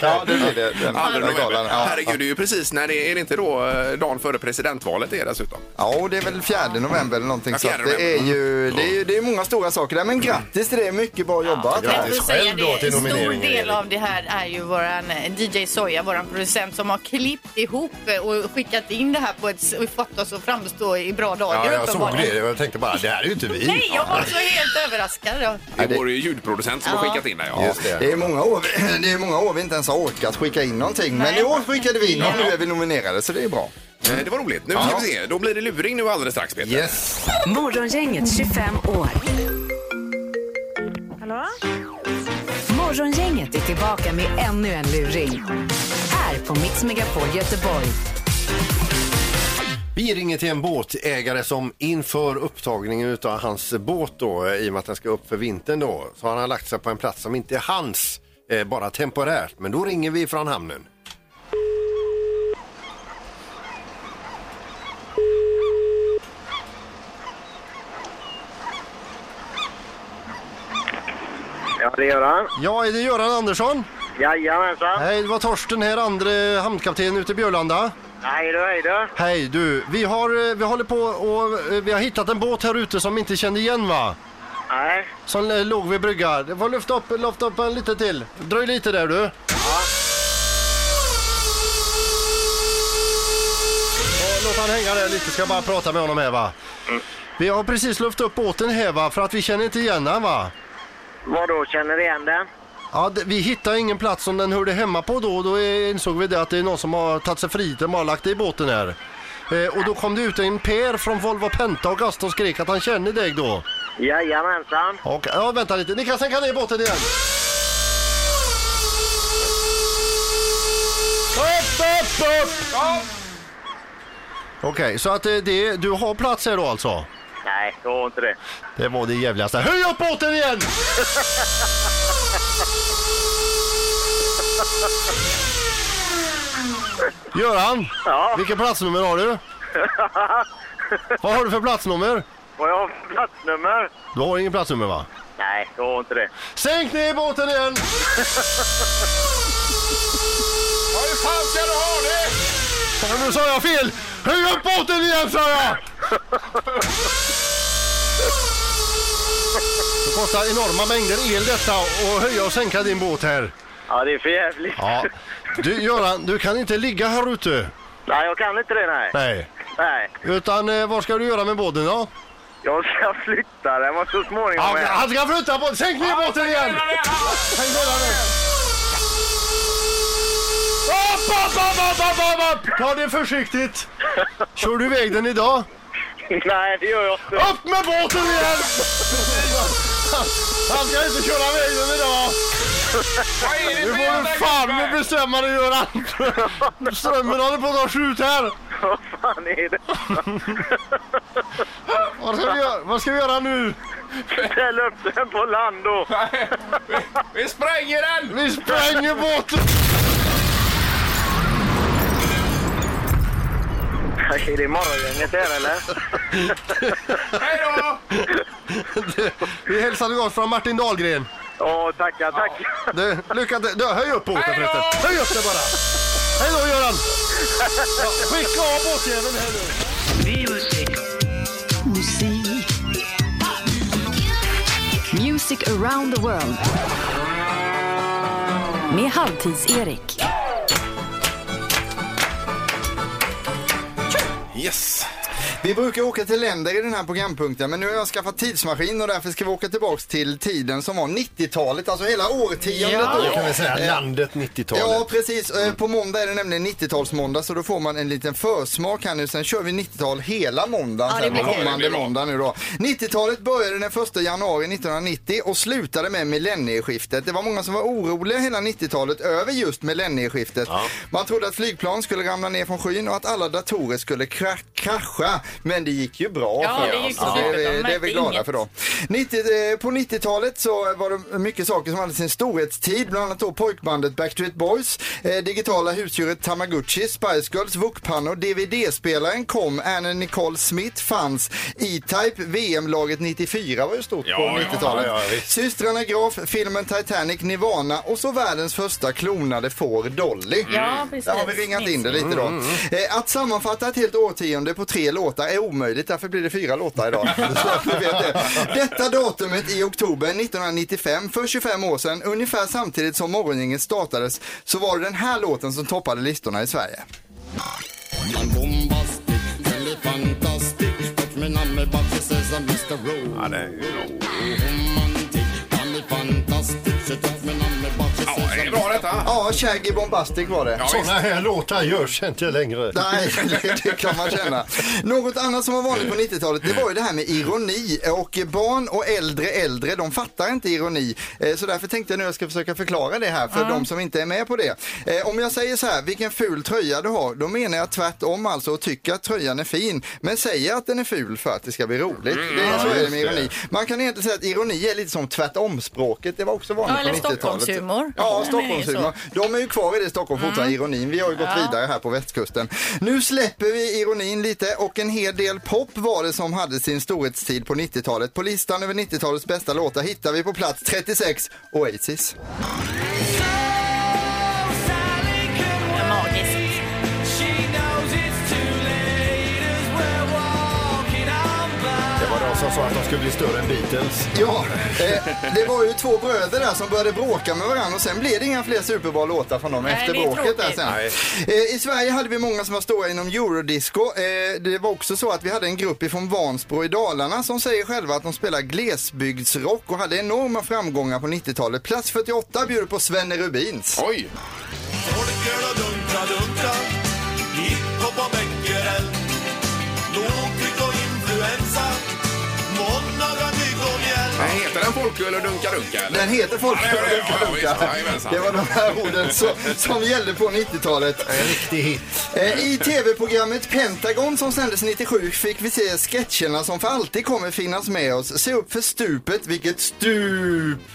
S8: Ja, det blir det. Den,
S2: Andra
S8: den
S2: november.
S8: galan, ja.
S2: Herregud, det är ju precis när det är det inte då eh, dagen före presidentvalet det är dessutom.
S8: Ja, och det är väl 4 november eller någonting.
S2: Ja,
S8: Så att
S2: fjärde
S8: det, är
S2: november.
S8: ju, det, är ju, det är många stora saker där, men grattis till det. Mycket bra jobbat.
S4: Jag tänkte
S3: Grattis
S4: säga
S3: själv
S4: det.
S3: då till
S4: En
S3: nomineringen,
S4: stor del
S3: Erik.
S4: av det här är ju våran eh, DJ Soja, våran producent som har klippt ihop eh, och skickat in det här på ett s- och fått oss att framstå i bra dagar
S3: Ja, jag såg
S4: uppenbarligen.
S3: det. Jag tänkte bara, det här är ju inte vi.
S4: Nej, jag var så helt överraskad. då.
S2: Det är vår ljudproducent som har skickat in det. Ja.
S3: Just det.
S8: Det är, många år, det är många år vi inte ens har orkat skicka in någonting. Men
S4: Nej.
S8: i år skickade vi in och nu är vi nominerade så det är bra.
S2: Eh, Det var roligt. Nu ska vi se. Då blir det luring nu alldeles strax, Peter.
S3: Yes.
S1: Morgongänget 25 år.
S5: Hallå?
S1: Morgongänget är tillbaka med ännu en luring. Här på Mix Megapol Göteborg.
S3: Vi ringer till en båtägare som inför upptagningen utav hans båt då, i och med att den ska upp för vintern då, så han har lagt sig på en plats som inte är hans, eh, bara temporärt. Men då ringer vi från hamnen.
S7: Ja, det gör han.
S3: Ja, är det Göran Andersson?
S7: Jajamensan.
S3: Hej, det var Torsten här, andra hamnkapten ute i Björlanda.
S7: Hej då, hej då.
S3: Hej du, vi har, eh, vi håller på och eh, vi har hittat en båt här ute som vi inte kände igen va?
S7: Nej.
S3: Som eh, låg vid brygga. Det får lyfta upp, lyfta upp en lite till. Dröj lite där du. Eh, Ja, Låt han hänga där lite, ska jag bara prata med honom här va. Vi har precis lyft upp båten här va, för att vi känner inte igen den va.
S7: Vadå, känner du igen den?
S3: Ja, d- vi hittade ingen plats som den hörde hemma på då och då eh, insåg vi det att det är någon som har tagit sig friheten och bara lagt det i båten här. Eh, och då kom det ut en Per från Volvo Penta och Gaston skrek att han känner dig då.
S7: Jajamensan.
S3: Och, ja, vänta lite. Ni kan sänka ner båten igen. Upp, upp, upp! Okej, så att eh, det, du har plats här då alltså?
S7: Nej, jag har inte det.
S3: Det var det jävligaste. Höj upp båten igen! Göran,
S7: Ja.
S3: vilken platsnummer har du? Vad har du för platsnummer?
S7: Vad jag har för platsnummer?
S3: Du har ingen platsnummer va?
S7: Nej, jag har inte det.
S3: Sänk ner båten igen!
S2: Ja, hur fan ska du ha det?
S3: Ja, Nu sa jag fel! Höj upp båten igen sa jag! Det kostar enorma mängder el detta och höja och sänka din båt här.
S7: Ja, det är för jävligt.
S3: Ja. Du Göran, du kan inte ligga här ute.
S7: Nej, jag kan inte det, nej.
S3: Nej.
S7: Nej,
S3: Utan eh, vad ska du göra med båten då?
S7: jag ska flytta den var så småningom.
S3: Ah, Ja,
S7: igen.
S3: han ska flytta båten! Sänk ner båten igen! Sänk ner den igen. Upp, upp, upp, upp, upp, upp, upp! Ta det försiktigt. Kör du iväg den idag?
S7: Nej, det gör jag inte.
S3: Upp med båten igen! Han ska inte köra vägen idag! Nu får du fan med bestämma dig Göran! Strömmen håller på att ta slut här!
S7: Vad fan är det?
S3: Vad ska vi göra, Vad ska vi göra nu?
S7: Ställ upp den på land då.
S2: Vi spränger den!
S3: Vi spränger båten!
S7: Är det morgongänget här eller?
S2: Hej då!
S3: Vi hälsar gott från Martin Dahlgren.
S7: Åh, tackar, tackar.
S3: Du, lycka till. Du, höj upp båten förresten. Höj upp den bara. Hej då Göran! Ja, skicka av båtjäveln här nu.
S1: Music around the world. Med Halvtids-Erik.
S2: Yes!
S8: Vi brukar åka till länder i den här programpunkten men nu har jag skaffat tidsmaskin och därför ska vi åka tillbaks till tiden som var 90-talet, alltså hela årtiondet
S4: Ja.
S8: då.
S3: vi säga landet 90-talet.
S8: Ja precis, Eh, på måndag är det nämligen 90-talsmåndag så då får man en liten försmak här nu. Sen kör vi 90-tal hela måndagen
S4: Ja, det
S8: sen
S4: blir kul.
S8: kommande måndag nu då. 90-talet började den 1 januari 1990 och slutade med millennieskiftet. Det var många som var oroliga hela 90-talet över just millennieskiftet. Man trodde att flygplan skulle ramla ner från skyn och att alla datorer skulle kra- krascha. Men det gick ju bra
S10: Ja,
S8: för
S10: det gick
S8: oss.
S10: så
S8: det,
S10: snabbt.
S8: är
S10: De
S8: vi- det är vi
S10: märkte
S8: glada
S10: inget.
S8: för då. 90, eh, på 90-talet så var det mycket saker som hade sin storhetstid. Bland annat då pojkbandet Backstreet Boys, eh, digitala husdjuret Tamagotchi, Spice Girls, wokpannor, DVD-spelaren kom, Anna Nicole Smith fanns, E-Type, VM-laget 94 var ju stort
S2: Ja,
S8: på
S2: ja,
S8: 90-talet.
S3: ja, visst.
S8: Systrarna Graf, filmen Titanic, Nirvana och så världens första klonade får, Dolly.
S10: Mm. Ja, precis. Mm,
S8: Där har vi ringat in det lite då. Eh, Att sammanfatta ett helt årtionde på tre låtar är omöjligt, därför blir det fyra låtar idag. Så att ni vet det. Detta datumet i oktober 1995, för 25 år sedan, ungefär samtidigt som Morgongänget startades, så var det den här låten som toppade listorna i Sverige.
S2: Ja, det är ju bra. Ja, det är bra detta.
S8: Ja, Shaggy Bombastic var det.
S2: Ja,
S3: Såna
S2: visst.
S3: här låtar görs inte längre.
S8: Nej, det, det kan man känna. Något annat som var vanligt på 90-talet det var ju det här med ironi. Och barn och äldre äldre, de fattar inte ironi. Eh, Så därför tänkte jag nu att jag ska försöka förklara det här för de som inte är med på det. Eh, Om jag säger så här, vilken ful tröja du har, då menar jag tvärtom alltså och tycker att tröjan är fin. Men säger att den är ful för att det ska bli roligt. Det är så är Mm, det med ironi. Man kan egentligen säga att ironi är lite som tvärtomspråket. Det var också vanligt
S4: Ja, eller
S8: på 90-talet.
S4: Stockholmshumor.
S8: Ja,
S4: Den är ju
S8: Stockholmshumor.
S4: så. Mm.
S8: De är ju kvar i det Stockholm fortfarande, ironin. Vi har ju gått vidare här på västkusten. Nu släpper vi ironin lite och en hel del pop var det som hade sin storhetstid på 90-talet. På listan över 90-talets bästa låtar hittar vi på plats 36
S10: Magiskt.
S8: Oasis.
S3: Det var de som sa att de skulle bli större än Beatles.
S8: Ja, eh, det var ju två bröder där som började bråka med varandra och sen blev det inga fler superbra låtar från dem
S4: Nej,
S8: efter
S4: det är
S8: bråket där
S4: tråkigt.
S8: sen. Eh, I Sverige hade vi många som var stora inom eurodisco. Eh, det var också så att vi hade en grupp ifrån Vansbro i Dalarna som säger själva att de spelar glesbygdsrock och hade enorma framgångar på 90-talet. Plats 48 bjuder på Svenne Rubins.
S2: Oj! Men Heter den folköl och dunka-dunka? eller?
S8: Den heter Folköl
S2: Ja, det gör det. Ja,
S8: och
S2: visst.
S8: Dunka-Dunka.
S2: Jajamensan.
S8: Det var de här orden som, som gällde på 90-talet.
S3: En riktig hit.
S8: Eh, I tv-programmet Pentagon som sändes 97 fick vi se sketcherna som för alltid kommer finnas med oss. Se upp för stupet, vilket stup!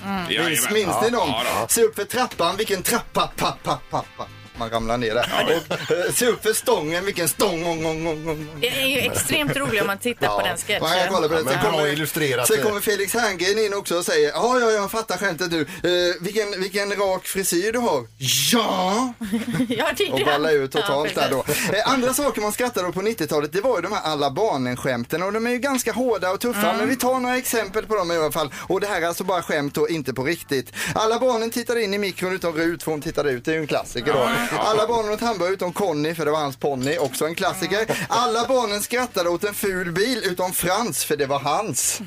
S2: Mm. Jajamän.
S8: Minns, minns ni dem?
S2: Ja, ja,
S8: Se upp för trappan, vilken trappa, pappa, pappa. Man ramlar ner där. Och, eh, se upp för stången, vilken stång, ång, ång, ång, ång.
S4: Det är ju extremt roligt om man tittar på den
S8: Man kan kolla
S4: sketchen.
S8: på den.
S3: Ja, men bra illustrerat.
S8: sen kommer Felix Herngren in också och säger ja, ja, jag fattar skämtet nu. Eh, vilken, vilken rak frisyr du har. Ja!
S4: Ja, det är
S8: och
S4: den.
S8: balla ut totalt
S4: Ja,
S8: där då. Eh, Andra saker man skrattade åt på 90-talet det var ju de här alla barnen-skämten och de är ju ganska hårda och tuffa men vi tar några exempel på dem i alla fall. Och det här är alltså bara skämt och inte på riktigt. Alla barnen tittade in i mikron utom Rut för hon tittade ut, det är ju en klassiker då. Alla barnen åt hamburgare utom Conny för det var hans ponny, också en klassiker. Alla barnen skrattade åt en ful bil utom Frans för det var hans.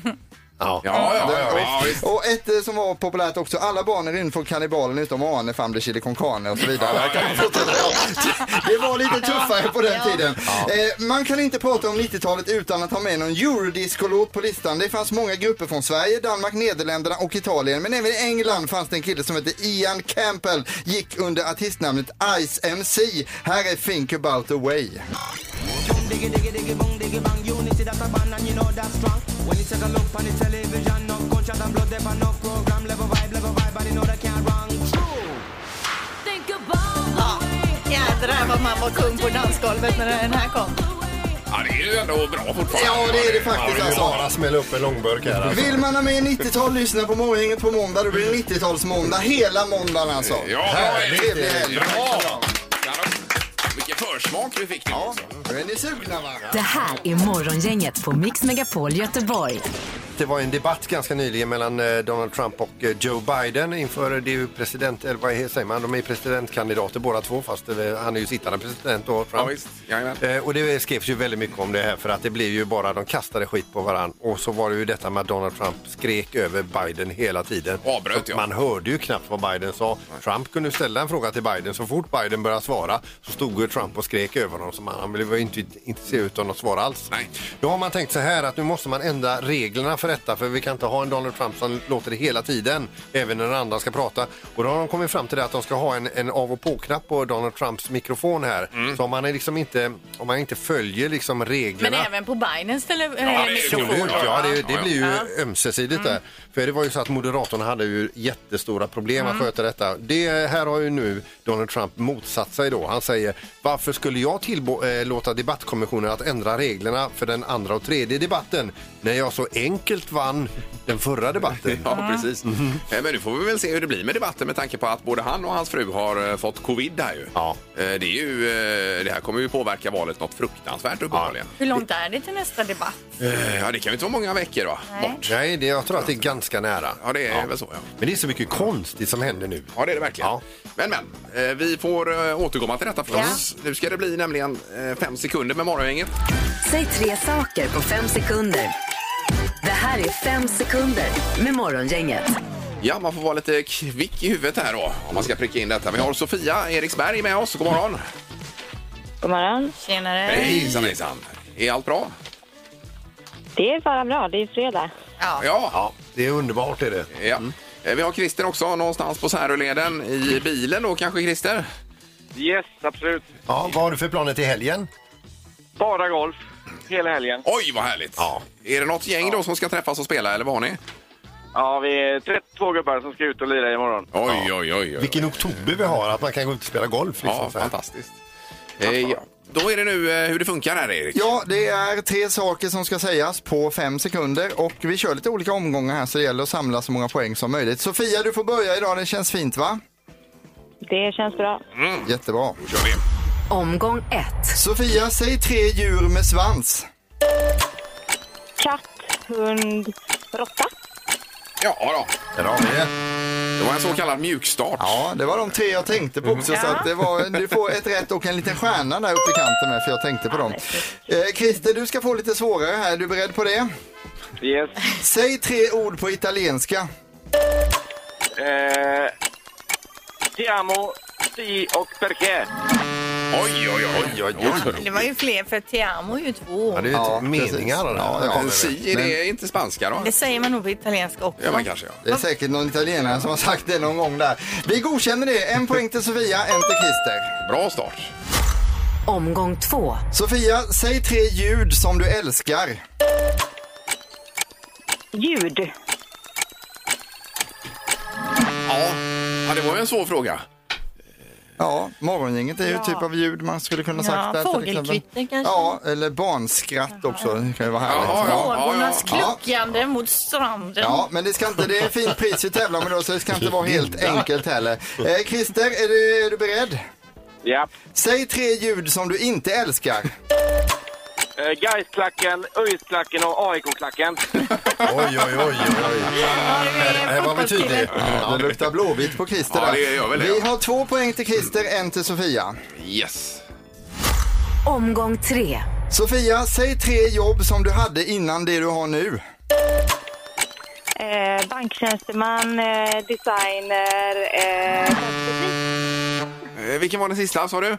S3: Ja.
S2: Ja, ja, ja, ja, visst.
S8: Och ett eh, som var populärt också, alla barn är rymd från kannibalen utom Arne, Famle, Chili con carne och så vidare. Där kan man fortsätta. Det var lite tuffare på den tiden. Eh, Man kan inte prata om 90-talet utan att ha med någon eurodiscolåt på listan. Det fanns många grupper från Sverige, Danmark, Nederländerna och Italien. Men även i England fanns det en kille som hette Ian Campbell, gick under artistnamnet Ice MC. Här är Think about the way.
S4: Ja, Jädrar vad man var kung på dansgolvet när den här kom.
S2: Ja, det är ju ändå bra fortfarande.
S8: Ja, det är det faktiskt
S3: Jag vill
S8: alltså.
S3: bara smälla upp en långburk här. Alltså.
S8: Vill man ha med 90-tal, lyssna på Morgongänget på måndag. Då blir det 90-talsmåndag hela måndagen alltså.
S2: Ja,
S8: Härligt.
S2: det är
S8: Trevlig helg.
S2: Bra! Kanon. Vilken försmak vi fick nu också.
S8: Nu är ni sugna va?
S1: Det här är Morgongänget på Mix Megapol Göteborg.
S3: Det var en debatt ganska nyligen mellan eh, Donald Trump och eh, Joe Biden inför eh, det är ju president, eller vad är- säger man, de är presidentkandidater båda två fast eh, han är ju sittande president då.
S2: Ja,
S3: Trump.
S2: visst. Jajamän.
S3: Eh, Och det skrevs ju väldigt mycket om det här för att det blev ju bara de kastade skit på varann och så var det ju detta med att Donald Trump skrek över Biden hela tiden.
S2: Avbröt,
S3: Så
S2: ja.
S3: Man hörde ju knappt vad Biden sa. Trump kunde ställa en fråga till Biden. Så fort Biden började svara så stod ju Trump och skrek över honom. Så man, han ville ju inte, inte se ut att svara alls.
S2: Nej.
S3: Då har man tänkt så här att nu måste man ändra reglerna för för detta för vi kan inte ha en Donald Trump som låter det hela tiden, även när den andra ska prata. Och då har de kommit fram till det att de ska ha en, en av och på-knapp på Donald Trumps mikrofon här. Så om man, är liksom inte, om man inte följer liksom reglerna
S4: Men även på Bidens tele-
S9: är
S4: eh,
S9: klokt.
S4: mikrofon.
S3: Absolut, ja det,
S2: Ja, Mm. ja.
S3: det blir ju ömsesidigt där. För det var ju så att moderatorn hade ju jättestora problem
S2: Mm.
S3: att sköta detta. Det här har ju nu Donald Trump motsatt sig då. Han säger varför skulle jag tillåta debattkommissionen att ändra reglerna för den andra och tredje debatten när jag så enkelt vann den förra debatten?
S2: Ja, precis. Eh, Men nu får vi väl se hur det blir med debatten med tanke på att både han och hans fru har eh, fått covid här ju.
S3: Ja.
S2: Eh, Det, är ju eh, det här kommer ju påverka valet något fruktansvärt uppenbarligen.
S4: Hur långt är det till nästa debatt?
S2: Eh, Ja, det kan ju inte vara många veckor va? Bort.
S3: Nej, det, jag tror att det är ganska nära.
S2: Ja, det är väl så ja.
S3: Men det är så mycket konstigt som händer nu.
S2: Ja, det är det verkligen.
S3: Ja.
S2: Men, men. eh, Vi får eh, återkomma till detta förstås. Nu ska det bli nämligen eh, fem sekunder med Morgongänget.
S1: Säg tre saker på fem sekunder. Det här är fem sekunder med Morgongänget.
S2: Ja, man får vara lite kvick i huvudet här då, om man ska pricka in detta. Vi har Sofia Eriksberg med oss. God morgon!
S5: God morgon.
S4: Tjenare.
S2: Hejsan, hejsan! Är allt bra?
S5: Det är bara bra, det är fredag.
S4: Ja.
S2: Ja.
S3: Det är underbart är det.
S2: ja. Eh, Vi har Christer också någonstans på Säröleden i bilen då kanske, Christer?
S7: Yes, absolut.
S3: Ja, vad har du för planer till helgen?
S7: Bara golf hela helgen.
S2: Oj, vad härligt! Ja. Är det något gäng då som ska träffas och spela, eller vad har ni?
S7: Ja, vi är 32 gubbar som ska ut och lira imorgon.
S2: Oj, oj, oj. oj.
S3: Vilken oktober vi har att man kan gå ut och spela golf. Liksom,
S2: Ja,
S3: så här.
S2: fantastiskt. Eh, ja. Då är det nu eh, hur det funkar här, Erik.
S8: Ja, det är tre saker som ska sägas på fem sekunder och vi kör lite olika omgångar här så det gäller att samla så många poäng som möjligt. Sofia, du får börja idag. Det känns fint va?
S5: Det känns bra.
S8: Jättebra.
S2: Då kör vi.
S1: Omgång ett.
S8: Sofia, säg tre djur med svans.
S5: Katt, hund, råtta.
S2: Ja, då.
S3: Där har vi det.
S2: Det var en så kallad mjukstart.
S8: Ja, det var de tre jag tänkte på också. Så att det var, du får ett rätt och en liten stjärna där uppe i kanten med för jag tänkte på dem. Eh, Christer, du ska få lite svårare här. Är du beredd på det?
S7: Yes.
S8: Säg tre ord på italienska.
S7: Eh, ti amo, si och perché.
S2: Oj, oj, oj. oj,
S4: Det var ju fler, för Tiamo är ju två.
S3: Ja, det är ju
S8: Ja,
S3: typ meningar.
S8: precis. Ja,
S3: Ja,
S8: ja.
S2: Men Si, är Alltså, det inte spanska då?
S4: Det säger man nog på italienska också.
S2: Ja, man kanske ja.
S8: Det är säkert någon italienare som har sagt det någon gång där. Vi godkänner det. En poäng till Sofia, en till Christer.
S2: Bra start.
S1: Omgång två.
S8: Sofia, säg tre ljud som du älskar.
S5: Ljud.
S2: Ja, ja det var ju en svår fråga.
S8: Ja, morgongänget är ju typ av ljud man skulle kunna sagt
S4: Ja,
S8: där. till exempel.
S4: fågelkvitter kanske.
S8: Ja, eller barnskratt också. Det kan ju vara härligt.
S2: Ja, ja.
S4: Fåglarnas
S2: Ja,
S8: ja.
S4: kluckande mot stranden.
S8: Ja, men det ska inte, det är fint pris vi tävlar med då så det ska inte vara helt enkelt heller. Eh, Christer, är du, är du beredd?
S7: Ja.
S8: Säg tre ljud som du inte älskar.
S7: Eh, Gaisklacken, Öisklacken och AIK-klacken.
S3: Oj, oj, oj. oj.
S4: Ja, det är
S3: Här var vi tydliga.
S8: Ja, det luktar blåvitt på Christer
S2: Ja,
S8: där.
S2: det gör väl det,
S8: Vi
S2: ja.
S8: har två poäng till Christer, en till Sofia.
S2: Yes.
S1: Omgång tre.
S8: Sofia, säg tre jobb som du hade innan det du har nu.
S5: Eh, banktjänsteman, eh, designer, eh, servitris.
S2: Eh, vilken var den sista sa du?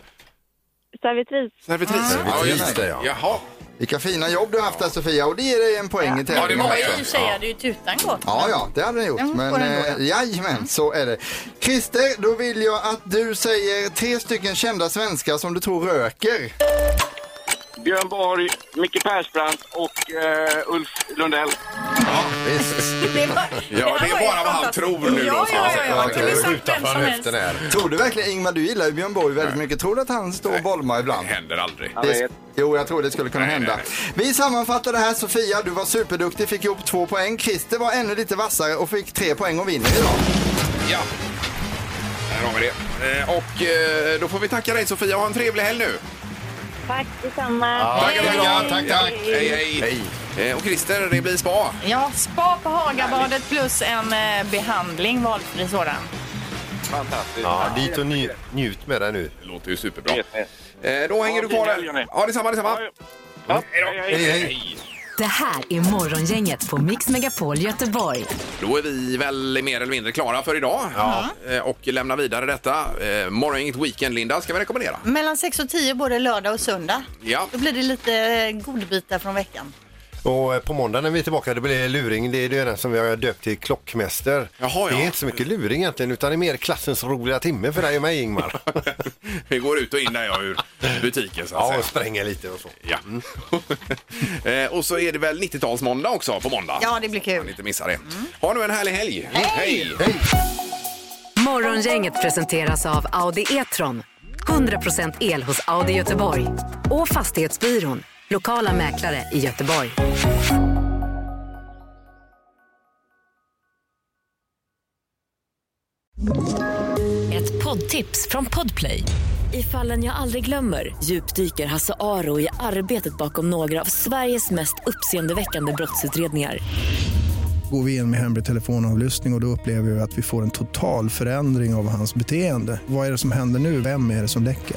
S5: servitris.
S2: Servitris. Ja, just det. Ja. Jaha.
S8: Vilka fina jobb du har haft där Sofia och det ger dig en poäng i
S2: Ja, det
S8: tävlingen.
S2: var
S4: Oj,
S2: ju-
S4: i och för sig hade ju tutan gått.
S8: Ja, ja, det hade den gjort.
S4: Mm,
S8: Men
S4: får den då,
S8: eh,
S4: ja.
S8: jajamän, så är det. Christer, då vill jag att du säger tre stycken kända svenskar som du tror röker.
S7: Björn Borg, Micke Persbrandt och eh, Ulf Lundell.
S4: Det var,
S2: Ja, det
S4: här
S2: är
S4: var ju
S2: bara vad han
S4: fantastiskt.
S2: tror nu då.
S4: Ja,
S2: ska man
S4: ja,
S2: säga.
S4: ja. Han kunde
S3: Jag
S4: sagt vem som helst.
S3: här.
S8: Tror du verkligen, Ingmar, du gillar ju Björn Borg väldigt mycket. Tror du att han står och bolmar ibland?
S2: Det händer aldrig.
S7: Ja.
S8: Det, jo, jag tror det skulle kunna hända. Vi sammanfattar det här. Sofia, du var superduktig, fick ihop två poäng. Christer var ännu lite vassare och fick tre poäng och vinner idag.
S2: Ja. Där har vi det. Eh, Och eh, då får vi tacka dig Sofia. Ha en trevlig helg nu.
S5: Tack detsamma.
S3: Tack, tack, tack, tack.
S2: Hej, hej. Eh, Och Christer, det blir spa.
S4: Ja, spa på Hagabadet plus en eh, behandling, valfri sådan.
S7: Fantastiskt.
S3: Ja, dit och nj- njut med det nu.
S2: Det låter ju superbra.
S7: Yes, yes.
S2: Eh, Då hänger
S7: Ja,
S2: du kvar
S7: fin helg,
S2: där.
S7: hörni.
S2: Ja, detsamma, detsamma.
S7: Ja,
S3: Mm.
S7: ja. Hej, hej.
S1: Det här är Morgongänget på Mix Megapol Göteborg.
S2: Då är vi väl mer eller mindre klara för idag Eh, och lämnar vidare detta. Eh, Morgongänget Weekend, Linda, ska vi rekommendera.
S4: Mellan 6 och 10 både lördag och söndag.
S2: Ja.
S4: Då blir det lite eh, godbitar från veckan.
S3: Och eh, på måndag när vi är tillbaka det blir luring. Det är ju den som vi har döpt till klockmäster.
S2: Jaha, ja.
S3: Det är inte så mycket luring egentligen utan det är mer klassens roliga timme för dig och mig Ingmar.
S2: Vi går ut och in när jag är ur butiken så att
S3: ja,
S2: säga.
S3: och spränga lite och så.
S2: Ja. Eh, och så är det väl 90-talsmåndag också på måndag.
S4: Ja, det blir kul.
S2: Kan inte missa det. Ha nu en härlig helg. Hej!
S11: Morgongänget presenteras av Audi E-tron. 100% el hos Audi Göteborg. Och Fastighetsbyrån, lokala mäklare i Göteborg.
S1: Ett poddtips från Podplay. I fallen jag aldrig glömmer djupdyker Hasse Aro i arbetet bakom några av Sveriges mest uppseendeväckande brottsutredningar.
S8: Går vi in med hemlig telefonavlyssning och, och då upplever vi att vi får en total förändring av hans beteende. Vad är det som händer nu? Vem är det som läcker?